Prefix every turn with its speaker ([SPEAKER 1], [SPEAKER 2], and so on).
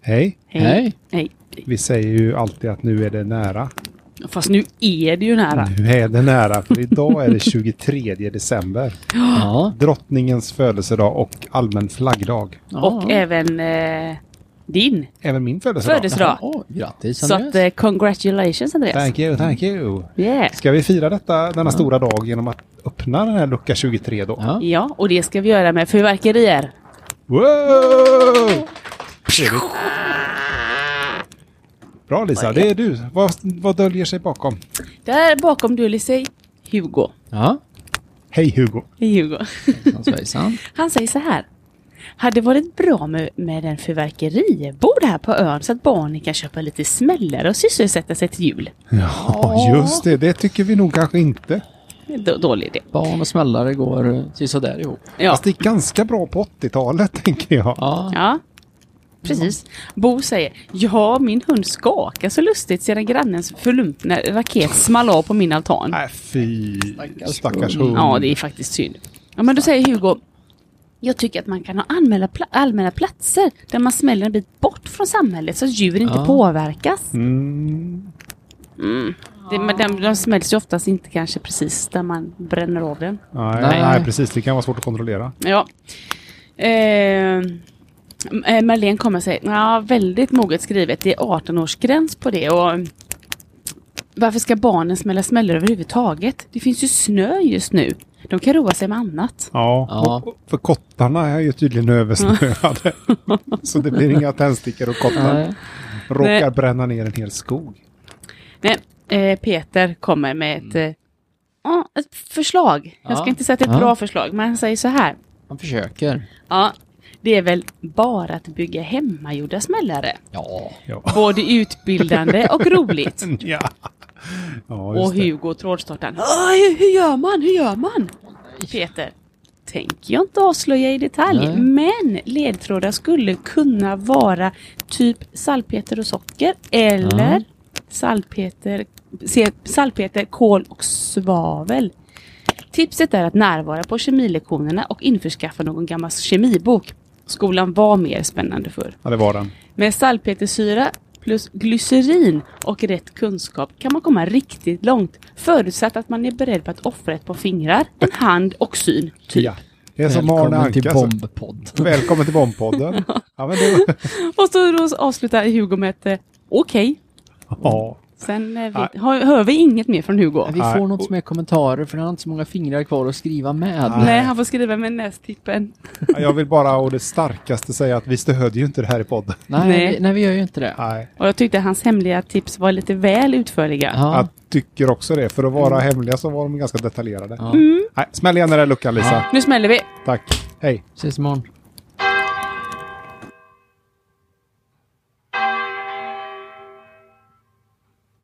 [SPEAKER 1] Hej.
[SPEAKER 2] Hej.
[SPEAKER 3] Hej.
[SPEAKER 1] Vi säger ju alltid att nu är det nära.
[SPEAKER 3] Fast nu är det ju nära.
[SPEAKER 1] Nu är det nära, för idag är det 23 december.
[SPEAKER 2] Ja.
[SPEAKER 1] Drottningens födelsedag och allmän flaggdag.
[SPEAKER 3] Och även eh, din
[SPEAKER 1] Även min födelsedag.
[SPEAKER 3] födelsedag.
[SPEAKER 2] Jaha, grattis
[SPEAKER 3] Så att eh, congratulations Andreas.
[SPEAKER 1] Thank you, thank you.
[SPEAKER 3] Yeah.
[SPEAKER 1] Ska vi fira detta, denna stora dag genom att öppna den här lucka 23 då?
[SPEAKER 2] Ja.
[SPEAKER 3] Ja, och det ska vi göra med fyrverkerier.
[SPEAKER 1] Wow! Trevligt. Bra Lisa, det är du. Vad, vad döljer sig bakom?
[SPEAKER 3] Där bakom döljer sig Hugo.
[SPEAKER 2] ja.
[SPEAKER 1] Hej Hugo.
[SPEAKER 3] Hej Hugo.
[SPEAKER 2] Hejsan svejsan.
[SPEAKER 3] Han säger så här. Hade varit bra med, med en fyrverkeribord här på ön så att barnen kan köpa lite smällare och sysselsätta sig till jul.
[SPEAKER 1] Ja, just det. Det tycker vi nog kanske inte.
[SPEAKER 3] Då, dålig idé.
[SPEAKER 2] Barn och smällare går eh, till sådär ihop.
[SPEAKER 3] Ja.
[SPEAKER 1] Fast det är ganska bra på 80-talet, tänker jag.
[SPEAKER 2] Ja.
[SPEAKER 3] ja. Precis. Bo säger, ja min hund skakar så lustigt sedan grannens förlumpna raket small av på min altan.
[SPEAKER 1] Nej, Äh, fy.
[SPEAKER 2] Stackars
[SPEAKER 1] Stackars
[SPEAKER 2] hund.
[SPEAKER 1] hund.
[SPEAKER 3] Ja, det är faktiskt synd. Ja, men då säger Hugo, jag tycker att man kan ha anmälda pla- allmänna platser där man smäller en bit bort från samhället så att djur inte
[SPEAKER 2] Ja.
[SPEAKER 3] påverkas.
[SPEAKER 1] Mm.
[SPEAKER 3] Det, men de, de smälls ju oftast inte kanske precis där man bränner av den.
[SPEAKER 1] Nej, nej.
[SPEAKER 2] Nej.
[SPEAKER 1] precis. Det kan vara svårt att kontrollera.
[SPEAKER 3] Ja. Eh, eh, Marlene kommer och säger, ja väldigt moget skrivet, det är 18-årsgräns på det och mm, varför ska barnen smälla smällor överhuvudtaget? Det finns ju snö just nu. De kan roa sig med annat.
[SPEAKER 1] Ja,
[SPEAKER 2] Ja.
[SPEAKER 1] och- och för kottarna är ju tydligen översnöade. Så det blir inga tändstickor och kottar
[SPEAKER 2] Nej.
[SPEAKER 1] råkar
[SPEAKER 3] Nej.
[SPEAKER 1] bränna ner en hel skog.
[SPEAKER 3] Nej, eh, Peter kommer med ett, eh, ja, ett förslag. Jag ska
[SPEAKER 2] Mm. Ja.
[SPEAKER 3] inte säga att det är ett
[SPEAKER 2] Ja.
[SPEAKER 3] bra förslag, men han säger så här.
[SPEAKER 2] Man försöker.
[SPEAKER 3] Ja, det är väl bara att bygga hemmagjorda smällare.
[SPEAKER 2] Ja.
[SPEAKER 1] Ja,
[SPEAKER 3] Både utbildande och roligt.
[SPEAKER 1] ja. ja
[SPEAKER 3] Och
[SPEAKER 1] just det.
[SPEAKER 3] Hugo trådstartaren. "Ah, Hur, hur gör man? Hur gör man? Peter. Tänker jag inte avslöja i detalj,
[SPEAKER 2] Nej.
[SPEAKER 3] men ledtrådar skulle kunna vara typ salpeter och socker eller salpeter, se- salpeter, kol och svavel. Tipset är att närvara på kemilektionerna och införskaffa någon gammal kemibok. Skolan var mer spännande förr.
[SPEAKER 1] Ja, det var den.
[SPEAKER 3] Med salpetersyra plus glycerin och rätt kunskap kan man komma riktigt långt. Förutsatt att man är beredd på att offra ett par fingrar, en hand och syn. Typ.
[SPEAKER 1] Ja. Det är som Arne Anka.
[SPEAKER 2] till
[SPEAKER 1] så-
[SPEAKER 2] Bombpodd.
[SPEAKER 1] Välkommen till Bombpodden. ja, men det,
[SPEAKER 3] Och så då avslutar Hugo med ett eh, okej.
[SPEAKER 1] ja.
[SPEAKER 3] Sen eh, vi, har, hör vi inget mer från Hugo.
[SPEAKER 2] Vi
[SPEAKER 1] Nej.
[SPEAKER 2] får nog inte mer kommentarer för han har inte så många fingrar kvar att skriva med.
[SPEAKER 3] Nej, han får skriva med nästippen.
[SPEAKER 1] Jag vill bara å det starkaste säga att vi stödjer ju inte det här i podden.
[SPEAKER 2] Nej,
[SPEAKER 3] Nej.
[SPEAKER 2] Vi, nej vi gör ju inte det.
[SPEAKER 1] Nej.
[SPEAKER 3] Och jag tyckte hans hemliga tips var lite väl utförliga.
[SPEAKER 2] Ja. Mm.
[SPEAKER 1] Jag tycker också det. För att vara hemliga så var de ganska detaljerade. Mm.
[SPEAKER 2] Ja.
[SPEAKER 1] Nej, smäll igen den där luckan Lisa.
[SPEAKER 3] Nu smäller vi!
[SPEAKER 1] Tack. Hej.
[SPEAKER 2] Ses imorgon.